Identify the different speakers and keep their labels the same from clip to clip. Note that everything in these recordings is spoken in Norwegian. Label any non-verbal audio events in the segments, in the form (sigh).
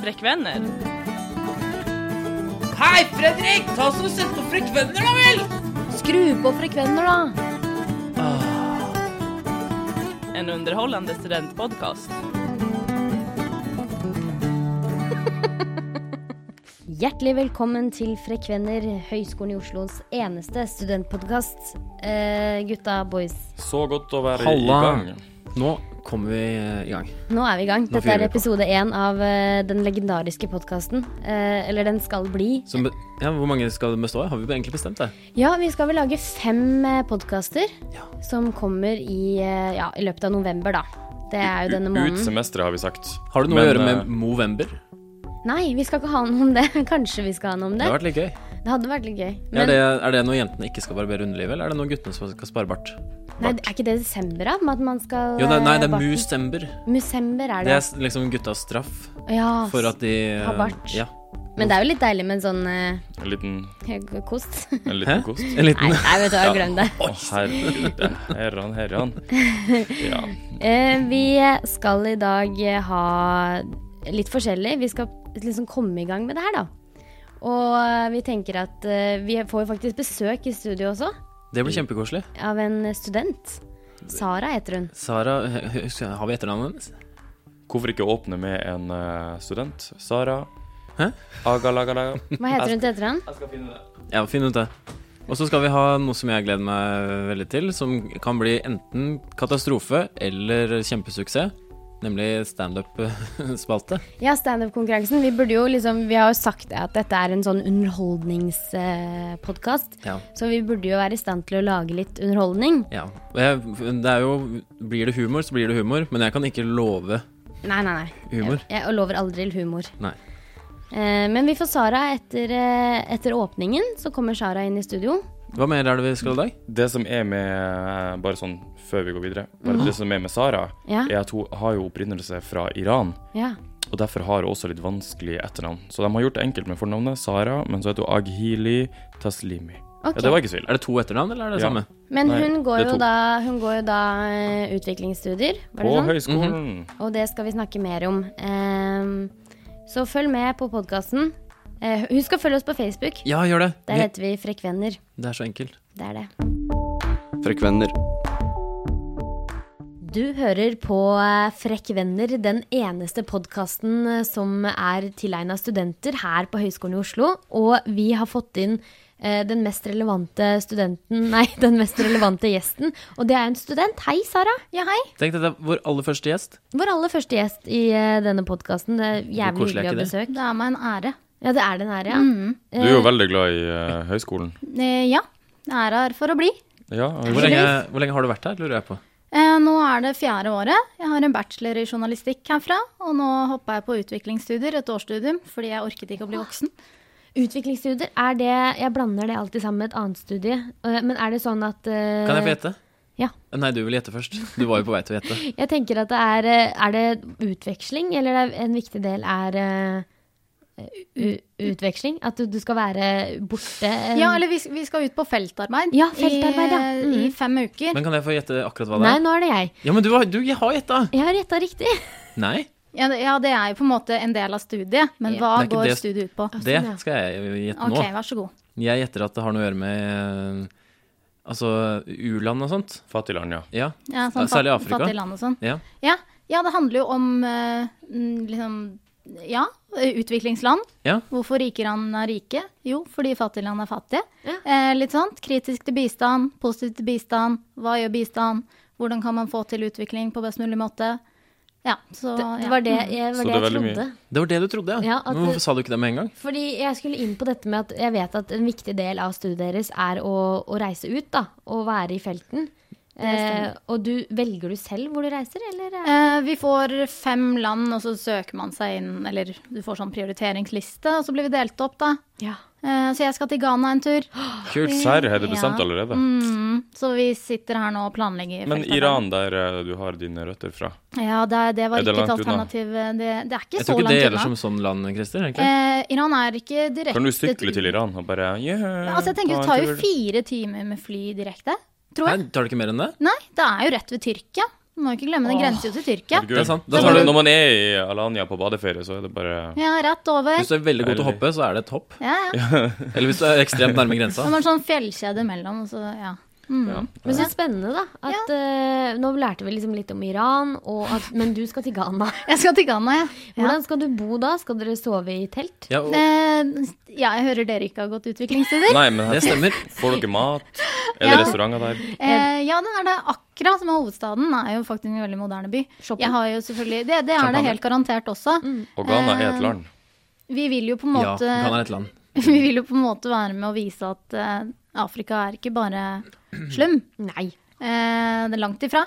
Speaker 1: Brekkvenner.
Speaker 2: Hei, Fredrik! Ta oss og Sett på frekvenner, da vel!
Speaker 3: Skru på frekvenner, da!
Speaker 1: En underhållande studentpodcast.
Speaker 3: Hjertelig velkommen til Frekvenner, Høgskolen i Oslos eneste studentpodkast. Eh, gutta, boys,
Speaker 4: Så godt å være
Speaker 5: Halla.
Speaker 4: i gang.
Speaker 5: Nå kommer vi eh, i gang.
Speaker 3: nå er vi i gang.
Speaker 5: Nå
Speaker 3: Dette
Speaker 5: fyrer
Speaker 3: er
Speaker 5: vi på.
Speaker 3: episode én av eh, den legendariske podkasten. Eh, eller den skal bli.
Speaker 5: Så, be- ja, hvor mange skal det bestå av? Har vi egentlig bestemt det?
Speaker 3: Ja, vi skal vel lage fem eh, podkaster
Speaker 5: Ja.
Speaker 3: som kommer i, eh, ja, i løpet av november, da. Det er jo denne
Speaker 4: U- Ut
Speaker 3: måneden.
Speaker 4: semesteret, har vi sagt.
Speaker 5: Har det noe
Speaker 4: Men,
Speaker 5: å gjøre
Speaker 4: eh,
Speaker 5: med Movember?
Speaker 3: Nei, vi skal ikke ha noe om det. (laughs) Kanskje vi skal ha noe om
Speaker 5: Det
Speaker 3: det.
Speaker 5: har vært litt gøy.
Speaker 3: Det hadde vært litt gøy.
Speaker 5: er, det, er det når jentene ikke skal barbere underlivet, eller er det når guttene som skal spare bart?
Speaker 3: nei, er ikke det desember, da? Med at man skal
Speaker 5: Jo, nei, nei,
Speaker 3: eh,
Speaker 5: det er
Speaker 3: barten-
Speaker 5: Musember.
Speaker 3: Musember er
Speaker 5: Det
Speaker 3: det.
Speaker 5: er s- liksom guttas straff
Speaker 3: ja,
Speaker 5: for at de eh,
Speaker 3: Ha bart.
Speaker 5: Ja.
Speaker 3: Men det er jo litt deilig med en sånn eh,
Speaker 4: En liten,
Speaker 3: kost. (laughs)
Speaker 4: en
Speaker 5: Hæ?
Speaker 4: liten kost.
Speaker 5: En
Speaker 3: Nei,
Speaker 5: liten
Speaker 3: nei, vet du hva,
Speaker 4: Ja.
Speaker 3: glem det.
Speaker 4: Å, herregud. Herran,
Speaker 3: (laughs)
Speaker 4: herran. Ja.
Speaker 3: Eh, vi skal i dag eh, ha litt forskjellig. Vi skal liksom komme i gang med det her, da. Og eh, vi tenker at eh, vi får jo faktisk besøk i studio også,
Speaker 5: Det blir kjempekoselig.
Speaker 3: av en student. Sara heter hun.
Speaker 5: Sara, eh, husker jeg- har vi etternavnet hennes?
Speaker 4: Hvorfor ikke åpne med en eh, student? Sara.
Speaker 5: Hæ?
Speaker 4: Agalagalaga.
Speaker 3: Hva heter hun til etternavn?
Speaker 4: Jeg skal finne det.
Speaker 5: Ja, finn ut det. Og så skal vi ha noe som jeg gleder meg veldig til, som kan bli enten katastrofe eller kjempesuksess. Nemlig standup-spalte.
Speaker 3: Ja, standup-konkurransen. Vi burde jo liksom Vi har jo sagt det at dette er en sånn underholdningspodkast.
Speaker 5: Ja.
Speaker 3: Så vi burde jo være i stand til å lage litt underholdning.
Speaker 5: ja. Og Jeg, det er jo Blir det humor, så blir det humor. Men jeg kan ikke love
Speaker 3: Nei, nei, nei.
Speaker 5: humor.
Speaker 3: Jeg, jeg lover aldri humor.
Speaker 5: Nei.
Speaker 3: Eh, men vi får Sara etter, eh, etter åpningen. Så kommer Sara inn i studio.
Speaker 5: Hva mer er det vi skal i dag?
Speaker 4: Det som er med eh, Bare sånn før vi går videre. Bare det som er med Sara,
Speaker 3: Ja.
Speaker 4: er at hun har jo opprinnelse fra Iran.
Speaker 3: Ja.
Speaker 4: Og derfor har hun også litt vanskelig etternavn. Så de har gjort det enkelt med fornavnet Sara, men så heter hun Aghili Taslimi.
Speaker 3: Ok.
Speaker 4: Ja, det var ikke så ille.
Speaker 5: Er det to etternavn, eller er det
Speaker 4: Ja.
Speaker 5: samme?
Speaker 3: Men
Speaker 4: Nei,
Speaker 3: hun, går
Speaker 4: det er
Speaker 3: jo
Speaker 4: to.
Speaker 3: da, hun går jo da eh, utviklingsstudier, var
Speaker 4: På
Speaker 3: det sånn?
Speaker 4: høyskolen.
Speaker 5: Mhm.
Speaker 3: Og det skal vi snakke mer om. Ehm, så følg med på podkasten. Eh, husk å følge oss på Facebook.
Speaker 5: Ja, gjør det.
Speaker 3: Der heter vi Frekvenner.
Speaker 5: Vi- Det er så enkelt.
Speaker 3: Det er det.
Speaker 6: Frekvenner.
Speaker 3: Du hører på eh, Frekk venner, den eneste podkasten eh, som er tilegna studenter her på Høgskolen i Oslo. Og vi har fått inn eh, den mest relevante studenten, (laughs) nei, den mest relevante gjesten. Og det er en student. Hei, Sara. Ja, hei.
Speaker 5: Tenk dette er vår aller første gjest.
Speaker 3: Vår aller første gjest i eh, denne podkasten. Det er
Speaker 5: Hvor
Speaker 3: jævlig
Speaker 5: koselig
Speaker 3: hyggelig å
Speaker 5: er ikke Mm.
Speaker 3: besøke.
Speaker 7: Det er meg en ære.
Speaker 3: Ja, det er det nære, ja.
Speaker 4: Du er jo veldig glad i eh, høyskolen.
Speaker 7: Eh, ja, jeg er her for å bli.
Speaker 4: Ja,
Speaker 5: Hvor lenge, hvor lenge har du vært her, lurer jeg på.
Speaker 7: Eh, nå er det fjerde året. Jeg har en bachelor i journalistikk herfra. Og nå hoppa jeg på utviklingsstudier, et årsstudium, fordi jeg orket ikke å
Speaker 3: Ah.
Speaker 7: bli voksen.
Speaker 3: Utviklingsstudier, er det Jeg blander det alltid sammen med et annet studie. eh, Men er det sånn at
Speaker 5: Kan jeg få gjette?
Speaker 3: ja.
Speaker 5: Nei, du vil gjette først. Du var jo på vei til å gjette.
Speaker 3: (laughs) Jeg tenker at det er eh, Er det utveksling, eller er en viktig del er eh, u utveksling? At du, du skal være borte eh,
Speaker 7: Ja, eller vi, vi skal ut på feltarbeid,
Speaker 3: Ja, feltarbeid,
Speaker 7: i, eh,
Speaker 3: ja. Mm.
Speaker 7: i fem uker.
Speaker 5: Men kan jeg få gjette akkurat hva det
Speaker 3: Nei,
Speaker 5: er?
Speaker 3: nå er det jeg.
Speaker 5: Ja, men du, har- du jeg har gjetta!
Speaker 3: Jeg har gjetta riktig.
Speaker 5: Nei,
Speaker 7: Ja, det- ja, det er jo på en måte en del av studiet, men hva
Speaker 5: Det er ikke
Speaker 7: går
Speaker 5: det-
Speaker 7: studiet ut på?
Speaker 5: det
Speaker 3: ja.
Speaker 5: skal jeg gjette
Speaker 7: sånn, Ok,
Speaker 5: nå.
Speaker 7: vær så god.
Speaker 5: Jeg gjetter at det har noe å gjøre med eh, altså u-land og sånt.
Speaker 4: Fattig land, ja.
Speaker 5: Ja.
Speaker 7: Ja, sånn
Speaker 5: Særlig i
Speaker 7: fat-
Speaker 5: Afrika.
Speaker 7: Fattig land og sånn.
Speaker 5: ja.
Speaker 7: Ja, ja, det handler jo om eh, mm, liksom, ja, eh, utviklingsland.
Speaker 5: Ja.
Speaker 7: Hvorfor rike land er rike? Jo, fordi fattige land er fattige.
Speaker 3: Ja.
Speaker 7: Eh, litt sånt. Kritisk til bistand, positivt til bistand. Hva gjør bistand? Hvordan kan man få til utvikling på best mulig måte? Ja, så
Speaker 3: Det,
Speaker 7: ja.
Speaker 3: det var det jeg, var
Speaker 4: Så
Speaker 3: det
Speaker 4: det er
Speaker 3: jeg
Speaker 4: veldig mye.
Speaker 3: trodde.
Speaker 5: Det var det du trodde, ja.
Speaker 3: Ja, at
Speaker 5: Men
Speaker 3: det-
Speaker 5: hvorfor sa du ikke det med en gang?
Speaker 3: Fordi jeg skulle inn på dette med at jeg vet at en viktig del av studiet deres er å, å reise ut, da. Og være i felten. Eh,
Speaker 7: stemmer.
Speaker 3: og du velger du selv hvor du reiser, eller? er-
Speaker 7: Eh, vi får fem land, og så søker man seg inn, eller du får sånn prioriteringsliste, og så blir vi delt opp, da.
Speaker 3: Ja.
Speaker 7: Eh, så jeg skal til Ghana en tur.
Speaker 4: Kult. Serr, har du bestemt
Speaker 7: Eh, Ja.
Speaker 4: allerede?
Speaker 7: Mm, så vi sitter her nå og planlegger.
Speaker 4: Men
Speaker 7: feltarbeid.
Speaker 4: Iran, der eh, du har dine røtter fra
Speaker 7: Ja, det, det var
Speaker 4: Er det
Speaker 7: ikke et
Speaker 4: langt unna?
Speaker 7: alternativ. Det, det er ikke
Speaker 5: Jeg
Speaker 7: så
Speaker 5: tror ikke det
Speaker 7: langt
Speaker 5: gjelder
Speaker 7: unna.
Speaker 5: som sånn land, Christer. egentlig.
Speaker 7: Eh, Iran er ikke direkte
Speaker 4: Kan du sykle til Iran og bare yeah,
Speaker 7: Altså, jeg tenker
Speaker 4: ta
Speaker 7: Det
Speaker 4: en
Speaker 7: tar jo
Speaker 4: tur?
Speaker 7: fire timer med fly direkte, tror
Speaker 5: Nei,
Speaker 7: jeg.
Speaker 5: tar du ikke mer enn det?
Speaker 7: Nei, det er jo rett ved Tyrkia. Man må ikke glemme, det grenser jo til Tyrkia.
Speaker 4: Herregud.
Speaker 5: Det er sant. Da
Speaker 4: Når
Speaker 5: tar
Speaker 4: man-
Speaker 5: du-
Speaker 4: Når man er i Alanya på badeferie, så er det bare
Speaker 7: Ja, rett over.
Speaker 5: Hvis du er veldig god til å hoppe, så er det et hopp.
Speaker 7: Ja, ja.
Speaker 5: Eller hvis du er ekstremt nærme grensa.
Speaker 7: Når man sånn fjellkjede imellom, så ja. Mm.
Speaker 4: ja.
Speaker 3: Men så spennende, da. At, eh, nå lærte vi liksom litt om Iran, og at, men du skal til Ghana.
Speaker 7: Jeg skal til Ghana, jeg. Ja.
Speaker 3: Hvordan skal du bo da? Skal dere sove i telt?
Speaker 5: Ja, og,
Speaker 7: Eh, ja, jeg hører dere ikke har gått utviklingstider.
Speaker 4: Nei, men
Speaker 5: det
Speaker 4: her
Speaker 5: stemmer.
Speaker 4: får dere mat. Er det
Speaker 7: Ja.
Speaker 4: restauranter der?
Speaker 7: Eh, ja, den er det. Accra, som er hovedstaden, er jo faktisk en veldig moderne by.
Speaker 3: Shopping.
Speaker 7: Jeg har jo selvfølgelig, Det, det er det
Speaker 4: Champagne.
Speaker 7: helt garantert også.
Speaker 4: Og Ghana er et
Speaker 7: Eh,
Speaker 4: land.
Speaker 7: Vi vil jo på en
Speaker 5: Ja,
Speaker 7: måte,
Speaker 5: Ghana er et land.
Speaker 7: (laughs) vi vil jo på en måte være med og vise at eh, Afrika er ikke bare slum.
Speaker 3: Nei.
Speaker 7: Eh, det er langt ifra.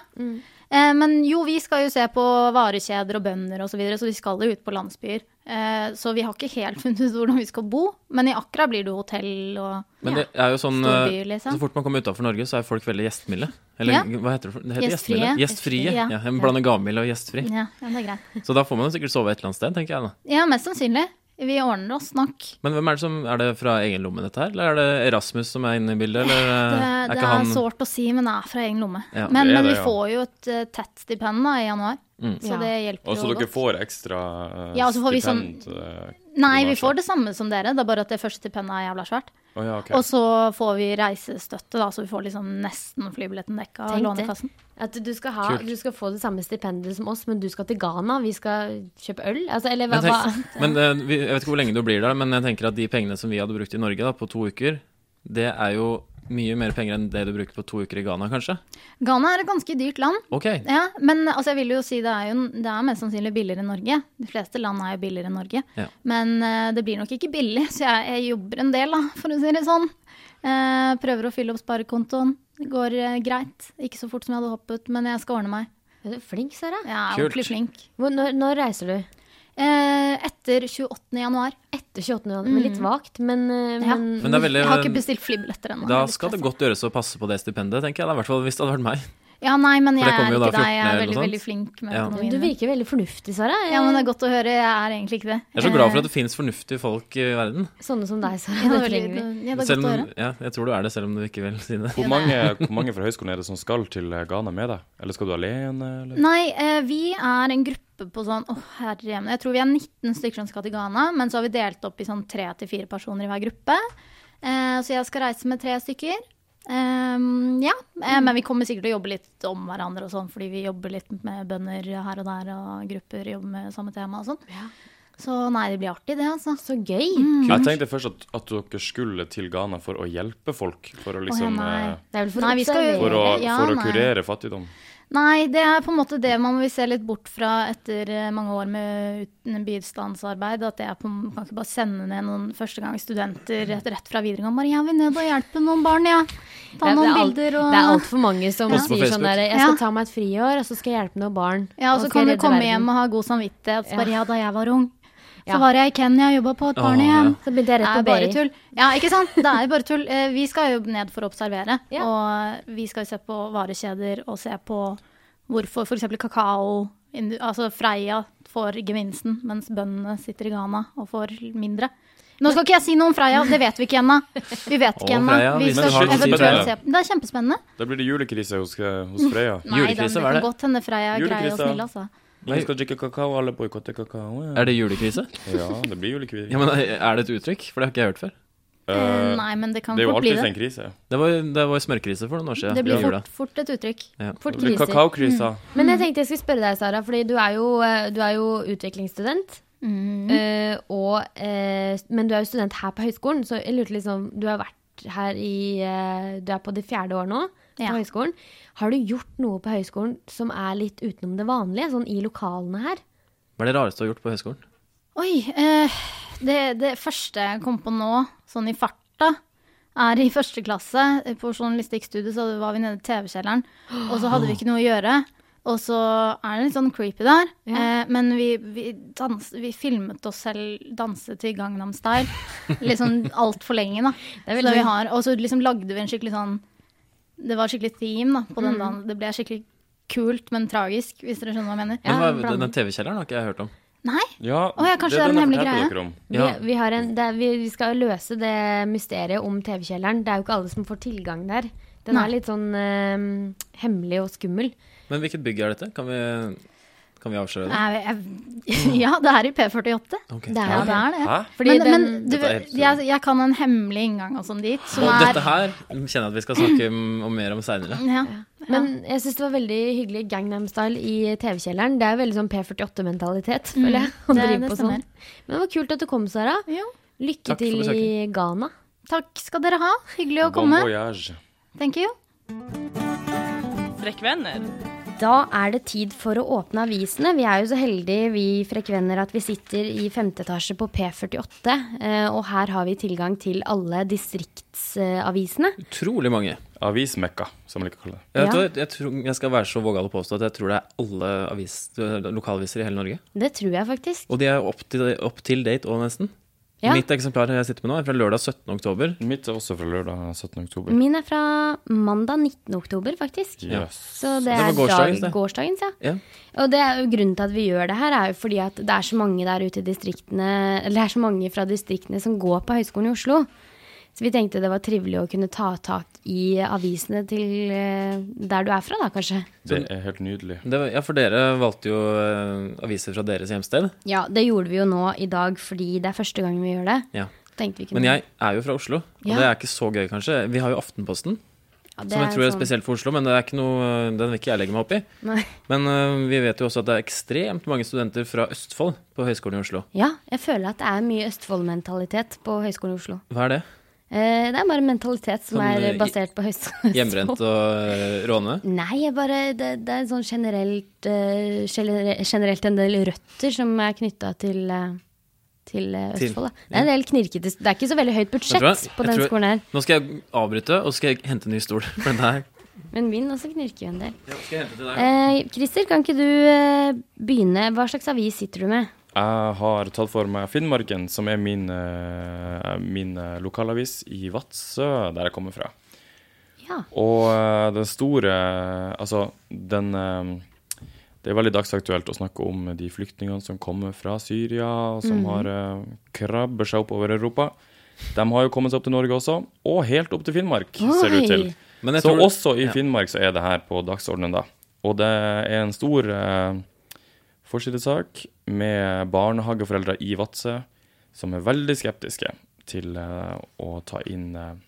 Speaker 7: Eh, men jo, vi skal jo se på varekjeder og bønder osv., så, videre, så vi skal jo ut på landsbyer. Eh, så vi har ikke helt (laughs) funnet ut hvordan vi skal bo, men i Accra blir det jo hotell og
Speaker 5: Men det er jo sånn
Speaker 7: Stor by,
Speaker 5: eh,
Speaker 7: liksom.
Speaker 5: Så fort man kommer utafor Norge, så er folk veldig gjestmilde. Eller
Speaker 7: Ja.
Speaker 5: hva heter det? for- det heter
Speaker 7: Gjestfrie.
Speaker 5: gjestmilde. Gjestfrie.
Speaker 7: Gjestfrie, ja.
Speaker 5: Ja, jeg blander gavmild og gjestfri.
Speaker 7: ja, ja, det er greit.
Speaker 5: Så da får man jo sikkert sove et eller annet sted, tenker jeg da.
Speaker 7: Ja, mest sannsynlig. Vi ordner oss nok.
Speaker 5: Men hvem er det som Er det fra egen lomme, dette her? Eller er det Erasmus som er inne i bildet? Eller
Speaker 7: Det,
Speaker 5: eh,
Speaker 7: det
Speaker 5: ikke
Speaker 7: er
Speaker 5: han
Speaker 7: sårt å si, men det er fra egen lomme.
Speaker 5: Ja,
Speaker 7: men
Speaker 4: det er det,
Speaker 7: men vi
Speaker 4: ja. Mm.
Speaker 7: får jo et eh, tett stipend da i januar, så
Speaker 3: Ja.
Speaker 7: det hjelper
Speaker 4: Og så
Speaker 7: jo
Speaker 4: dere
Speaker 7: godt.
Speaker 4: får ekstra eh,
Speaker 7: Ja, og så får vi sånn-
Speaker 4: stipend? eh,
Speaker 7: Nei, vi
Speaker 4: bonasje.
Speaker 7: får det samme som dere, det er bare at det første stipendet er jævla svært.
Speaker 4: Å ja, ok.
Speaker 7: Og så får vi reisestøtte, da, så vi får liksom nesten flybilletten dekka av
Speaker 3: Tenk det.
Speaker 7: Lånekassen.
Speaker 3: At du skal, ha, du skal få det samme stipendet som oss, men du skal til Ghana. Vi skal kjøpe øl. Altså, eller hva?
Speaker 5: Men,
Speaker 3: hva?
Speaker 5: tenk, men eh, vi, jeg vet ikke hvor lenge du blir der, men jeg tenker at de pengene som vi hadde brukt i Norge da, på to uker, det er jo mye mer penger enn det du bruker på to uker i Ghana, kanskje?
Speaker 7: Ghana er et ganske dyrt land,
Speaker 5: Ok.
Speaker 7: ja, men altså, jeg vil jo si det er, jo, det er mest sannsynlig billigere enn Norge. De fleste land er jo billigere enn Norge.
Speaker 5: Ja.
Speaker 7: Men eh, det blir nok ikke billig, (laughs) så jeg, jeg jobber en del, da, for å si det sånn. Eh, prøver å fylle opp sparekontoen. Det går eh, greit. Ikke så fort som jeg hadde håpet, men jeg skal ordne meg.
Speaker 3: Er (laughs) du Flink, Sara.
Speaker 7: Jeg er
Speaker 5: Kult.
Speaker 7: ordentlig flink.
Speaker 3: Hvor- Når, når reiser du?
Speaker 7: Eh, etter 28. januar.
Speaker 3: Etter 28. januar. Men litt vagt, men, eh,
Speaker 7: Mm. Ja.
Speaker 3: men
Speaker 5: Men det er veldig
Speaker 7: Jeg har ikke bestilt flybilletter ennå.
Speaker 5: Da
Speaker 7: jeg er litt
Speaker 5: skal det
Speaker 7: stresset.
Speaker 5: godt gjøres å passe på det stipendet, tenker jeg. Da, I hvert fall hvis det hadde vært meg.
Speaker 7: Ja, nei, men jeg
Speaker 5: det
Speaker 7: er
Speaker 5: kommer jo
Speaker 7: ikke
Speaker 5: da
Speaker 7: deg. Jeg
Speaker 5: 14.
Speaker 7: er
Speaker 5: eller
Speaker 7: veldig,
Speaker 5: noe
Speaker 7: veldig
Speaker 5: sånt.
Speaker 7: flink med
Speaker 5: Ja.
Speaker 7: økonomien.
Speaker 3: Du virker veldig fornuftig, Sara.
Speaker 7: Ja, men det er godt å høre. Jeg er egentlig ikke det.
Speaker 5: Jeg er så glad for at det finnes fornuftige folk i verden.
Speaker 3: Eh, Sånne som deg, Sara.
Speaker 7: ja, det
Speaker 3: det
Speaker 7: er
Speaker 3: trenger vi.
Speaker 7: veldig, ja, det er
Speaker 5: Selv
Speaker 7: godt å
Speaker 5: om,
Speaker 7: høre.
Speaker 5: ja, jeg tror du er det, selv om du ikke vil si det.
Speaker 4: Hvor mange, hvor mange fra høyskolen er det som skal til eh, Ghana med deg? Eller skal du alene? Eller?
Speaker 7: Nei, eh, vi er en gruppe på sånn Å, herre jemne. Jeg tror vi er 19 stykker som skal til Ghana, men så har vi delt opp i sånn tre til fire personer i hver gruppe. Eh, så jeg skal reise med tre stykker. Ehm, ja, eh, men vi kommer sikkert til å jobbe litt om hverandre og sånn, fordi vi jobber litt med bønder her og der, og grupper jobber med samme tema og sånn. Så nei, det blir artig, det, altså.
Speaker 3: Så gøy.
Speaker 4: Jeg tenkte først at, at dere skulle til Ghana for å hjelpe folk. For å, liksom,
Speaker 7: nei.
Speaker 4: eh,
Speaker 3: Det er vel for
Speaker 7: Nei, vi skal jo-
Speaker 3: observere.
Speaker 4: for å,
Speaker 7: Ja,
Speaker 4: for å
Speaker 7: nei.
Speaker 4: kurere fattigdom.
Speaker 7: Nei, det er på en måte det man vil se litt bort fra etter eh, mange år med uten bistandsarbeid. At det er på, man kan ikke bare sende ned noen førstegangsstudenter rett, rett fra videregående. Bare jeg vil ned og hjelpe noen barn, jeg. Ja. Ta
Speaker 3: Det er- det
Speaker 7: noen
Speaker 3: er alt-
Speaker 7: bilder og
Speaker 3: Det er altfor mange som
Speaker 5: Post på
Speaker 3: sier sånn
Speaker 5: Facebook.
Speaker 3: der Jeg skal
Speaker 7: Ja.
Speaker 3: ta meg et friår, og så skal jeg hjelpe noen barn.
Speaker 7: Ja, og
Speaker 3: skal
Speaker 7: så kan du
Speaker 3: jeg redde
Speaker 7: komme
Speaker 3: verden.»
Speaker 7: hjem og ha god samvittighet. Så bare ja, da jeg var ung, så
Speaker 3: Ja.
Speaker 7: var jeg i Kenya og jobba på et
Speaker 5: Åh,
Speaker 7: barnehjem.
Speaker 5: ja.
Speaker 3: Så blir det
Speaker 7: Det
Speaker 3: rett
Speaker 7: er
Speaker 3: på
Speaker 7: bare
Speaker 3: BI.
Speaker 7: tull. Ja, ikke sant? Det er jo bare tull. Eh, Vi skal jo ned for å observere.
Speaker 3: Ja.
Speaker 7: Og vi skal jo se på varekjeder og se på hvorfor f.eks. kakao indu- Altså Freia får gevinsten, mens bøndene sitter i Ghana og får mindre. Nå skal ikke jeg si noe om Freia, det vet vi ikke ennå. Vi vet
Speaker 5: Å,
Speaker 7: ikke ennå.
Speaker 5: Freia,
Speaker 7: Vi
Speaker 5: men
Speaker 7: skal
Speaker 4: det er så
Speaker 7: eventuelt
Speaker 4: spennende.
Speaker 7: se på Det er kjempespennende.
Speaker 4: Da blir det julekrise hos, eh,
Speaker 7: Mm.
Speaker 4: hos
Speaker 5: (laughs)
Speaker 4: Freya.
Speaker 7: Nei, den-
Speaker 5: Julekrise,
Speaker 7: det
Speaker 5: hva er
Speaker 7: kan
Speaker 5: det?
Speaker 7: godt hende Freia greier å
Speaker 4: Julekrise.
Speaker 7: snille, altså.
Speaker 4: Vi skal drikke kakao, alle boikotter kakao. Ja.
Speaker 5: Er det julekrise?
Speaker 4: ja, det blir julekrise.
Speaker 5: Ja, men eh, Er det et uttrykk? For det har ikke jeg hørt før.
Speaker 4: Eh,
Speaker 7: Eh, Nei, men det kan
Speaker 4: det er jo
Speaker 7: fort bli
Speaker 4: alltid
Speaker 7: det.
Speaker 4: en krise.
Speaker 5: Det var, det var smørkrise for noen år siden.
Speaker 7: Det blir
Speaker 5: i jula.
Speaker 7: fort, fort et uttrykk.
Speaker 3: Fort
Speaker 4: Det blir
Speaker 3: kriser.
Speaker 4: kakaokrisa.
Speaker 7: Mm.
Speaker 3: Men jeg tenkte jeg skulle spørre deg, Sara, fordi du er jo, eh, du er jo utviklingsstudent.
Speaker 7: Mm.
Speaker 3: eh, og, eh, men du er jo student her på høyskolen, så jeg lurte liksom Du har vært her i eh, Du er på det fjerde år nå på
Speaker 7: Ja.
Speaker 3: høyskolen. Har du gjort noe på høyskolen som er litt utenom det vanlige, sånn i lokalene her?
Speaker 5: Hva er det rareste du har gjort på høyskolen?
Speaker 7: Oi. Eh, det, det første jeg kom på nå, sånn i farta, er i første klasse. eh, På journalistikkstudiet så var vi nede i TV-kjelleren, og så hadde vi ikke noe å gjøre. Og så er det litt sånn creepy der, eh, men vi, vi, dans, vi filmet oss selv danse til Gangnam Style. Liksom altfor lenge, da.
Speaker 3: er
Speaker 7: Så
Speaker 3: veldig-
Speaker 7: vi har, og så liksom lagde vi en skikkelig sånn Det var skikkelig theme da, på
Speaker 3: Mm.
Speaker 7: den dagen. Det ble skikkelig kult, men tragisk, hvis dere skjønner hva jeg mener.
Speaker 5: Men hva,
Speaker 3: blant-
Speaker 5: den TV-kjelleren har ikke jeg hørt om.
Speaker 7: Nei?
Speaker 4: Ja,
Speaker 7: Å ja, kanskje det er
Speaker 4: den
Speaker 7: en
Speaker 4: jeg
Speaker 7: hemmelig
Speaker 4: fortalte
Speaker 7: greie.
Speaker 4: dere om.
Speaker 3: Vi,
Speaker 5: Ja.
Speaker 3: vi, har en, det, er- vi, vi skal løse det mysteriet om TV-kjelleren. Det er jo ikke alle som får tilgang der.
Speaker 8: Den
Speaker 7: Nei.
Speaker 8: er litt sånn eh, hemmelig og skummel.
Speaker 5: Men hvilket bygg er dette? Kan vi, kan vi avsløre det?
Speaker 7: Nei, jeg- (laughs) Ja, det er i P48.
Speaker 5: Ok.
Speaker 8: Det er
Speaker 7: Ja,
Speaker 8: jo
Speaker 7: det
Speaker 8: det.
Speaker 7: er det.
Speaker 4: Hæ?
Speaker 8: Fordi
Speaker 7: men,
Speaker 8: den,
Speaker 7: men du,
Speaker 4: Dette er helt
Speaker 7: jeg, jeg kan en hemmelig inngang og sånn dit, som
Speaker 5: Og
Speaker 7: er
Speaker 5: dette her kjenner jeg at vi skal snakke om, om mer om seinere.
Speaker 7: ja.
Speaker 8: men jeg syns det var veldig hyggelig Gangnam Style i TV-kjelleren. Det er veldig sånn P48-mentalitet,
Speaker 7: Mm,
Speaker 8: føler jeg. å
Speaker 7: det-
Speaker 8: drive
Speaker 7: det
Speaker 8: på
Speaker 7: stemmer.
Speaker 8: sånn. Men det var kult at du kom, Sara.
Speaker 7: Jo.
Speaker 8: Lykke
Speaker 5: Takk for
Speaker 8: til i Ghana.
Speaker 7: Takk skal dere ha. Hyggelig å
Speaker 4: Bon
Speaker 7: komme.
Speaker 4: voyage.
Speaker 7: Thank you.
Speaker 2: Frekkvenner.
Speaker 3: Da er det tid for å åpne avisene. Vi er jo så heldige, vi frekvenner, at vi sitter i femte etasje på P48. eh, Og her har vi tilgang til alle distriktsavisene.
Speaker 5: Utrolig mange.
Speaker 4: Avismekka, som man liker å kalle det.
Speaker 5: Jeg, vet
Speaker 3: Ja.
Speaker 5: hva, jeg, tror, jeg skal være så vågal å påstå at jeg tror det er alle avis, lokalaviser i hele Norge.
Speaker 3: Det tror jeg faktisk.
Speaker 5: Og de er opp til, up til date òg, nesten.
Speaker 3: Ja.
Speaker 5: Mitt eksemplar jeg sitter med nå, er fra lørdag 17. oktober.
Speaker 4: Mitt er også fra lørdag 17.
Speaker 7: Mm.
Speaker 4: oktober.
Speaker 3: Min er fra mandag 19. oktober, faktisk.
Speaker 4: Yes.
Speaker 3: Så det
Speaker 5: Det
Speaker 3: er
Speaker 5: var gårsdagens,
Speaker 3: dag,
Speaker 5: det.
Speaker 3: gårsdagens, ja.
Speaker 5: Ja.
Speaker 3: Og det er jo grunnen til at vi gjør det her, er jo fordi at det er så mange der ute i distriktene, eller det er så mange fra distriktene som går på Høgskolen i Oslo. Så vi tenkte det var trivelig å kunne ta tak i avisene til eh, der du er fra, da kanskje.
Speaker 4: Det er helt nydelig.
Speaker 5: Det, var- ja, for dere valgte jo eh, aviser fra deres hjemsted.
Speaker 3: Ja, det gjorde vi jo nå i dag fordi det er første gang vi gjør det.
Speaker 5: Ja.
Speaker 3: Tenkte vi kunne
Speaker 5: Men jeg er jo fra Oslo, og
Speaker 3: Ja.
Speaker 5: det er ikke så gøy, kanskje. Vi har jo Aftenposten,
Speaker 3: Ja, det
Speaker 5: som jeg tror er
Speaker 3: sånn-
Speaker 5: spesielt for Oslo, men det er ikke noe, den vil ikke jeg legge meg opp i.
Speaker 3: Nei.
Speaker 5: Men eh, vi vet jo også at det er ekstremt mange studenter fra Østfold på Høgskolen i Oslo.
Speaker 3: (laughs) Ja, jeg føler at det er mye Østfold-mentalitet på Høgskolen i Oslo.
Speaker 5: Hva er det?
Speaker 3: Eh, Det er bare en mentalitet som
Speaker 5: Sånn, eh,
Speaker 3: er basert på Høgskolen.
Speaker 5: Hjemmebrent og eh, råne?
Speaker 3: Nei, jeg bare, det, det er sånn generelt, eh, genere- generelt en del røtter som er knytta til, eh, til eh,
Speaker 5: Til-
Speaker 3: Østfold. Da. Det er en del knirkete Det er ikke så veldig høyt
Speaker 5: Vet
Speaker 3: budsjett
Speaker 5: du hva?
Speaker 3: på
Speaker 5: Jeg
Speaker 3: den
Speaker 5: tror-
Speaker 3: skolen her,
Speaker 5: Nå skal jeg avbryte, og så skal jeg hente en ny stol. (laughs) For den her.
Speaker 3: men min også knirker jo en del.
Speaker 5: Skal jeg hente til deg?
Speaker 3: Eh, Christer, kan ikke du eh, begynne? Hva slags avis sitter du med?
Speaker 4: Jeg har tatt for meg Finnmarken, som er min, eh, min eh, lokalavis i Vadsø, der jeg kommer fra.
Speaker 3: Ja.
Speaker 4: Og eh, den store Altså, den eh, Det er veldig dagsaktuelt å snakke om de flyktningene som kommer fra Syria, og som har eh, krabbet seg oppover Europa. De har jo kommet seg opp til Norge også, og helt opp til Finnmark, ser det ut til.
Speaker 3: Oi.
Speaker 5: Men jeg
Speaker 4: Så
Speaker 5: tror-
Speaker 4: også i
Speaker 5: ja.
Speaker 4: Finnmark så er det her på dagsordenen, da. Og det er en stor eh, forsidesak med barnehageforeldre i Vadsø som er veldig skeptiske til eh, å ta inn eh,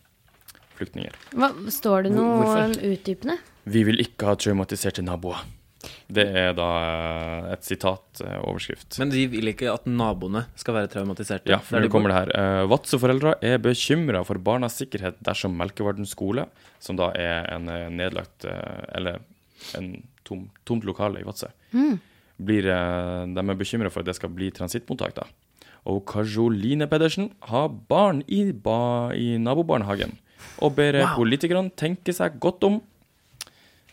Speaker 4: flyktninger.
Speaker 3: Hva, står det noe
Speaker 5: Hvorfor?
Speaker 3: utdypende?
Speaker 4: Vi vil ikke ha traumatiserte naboer. Det er da eh, et sitat, eh, overskrift.
Speaker 5: Men de vil ikke at naboene skal være traumatiserte.
Speaker 4: ja, for nå kommer det her. Eh, Vadsø-foreldre er bekymra for barnas sikkerhet dersom Melkevarden skole, som da er en eh, nedlagt eh, eller en tom, tomt lokale i Vadsø,
Speaker 5: Hmm.
Speaker 4: blir, eh, de er bekymra for at det skal bli transittmottak, da. Og Karoline Pedersen har barn i, ba i nabobarnehagen og ber eh, politikerne tenke seg godt om.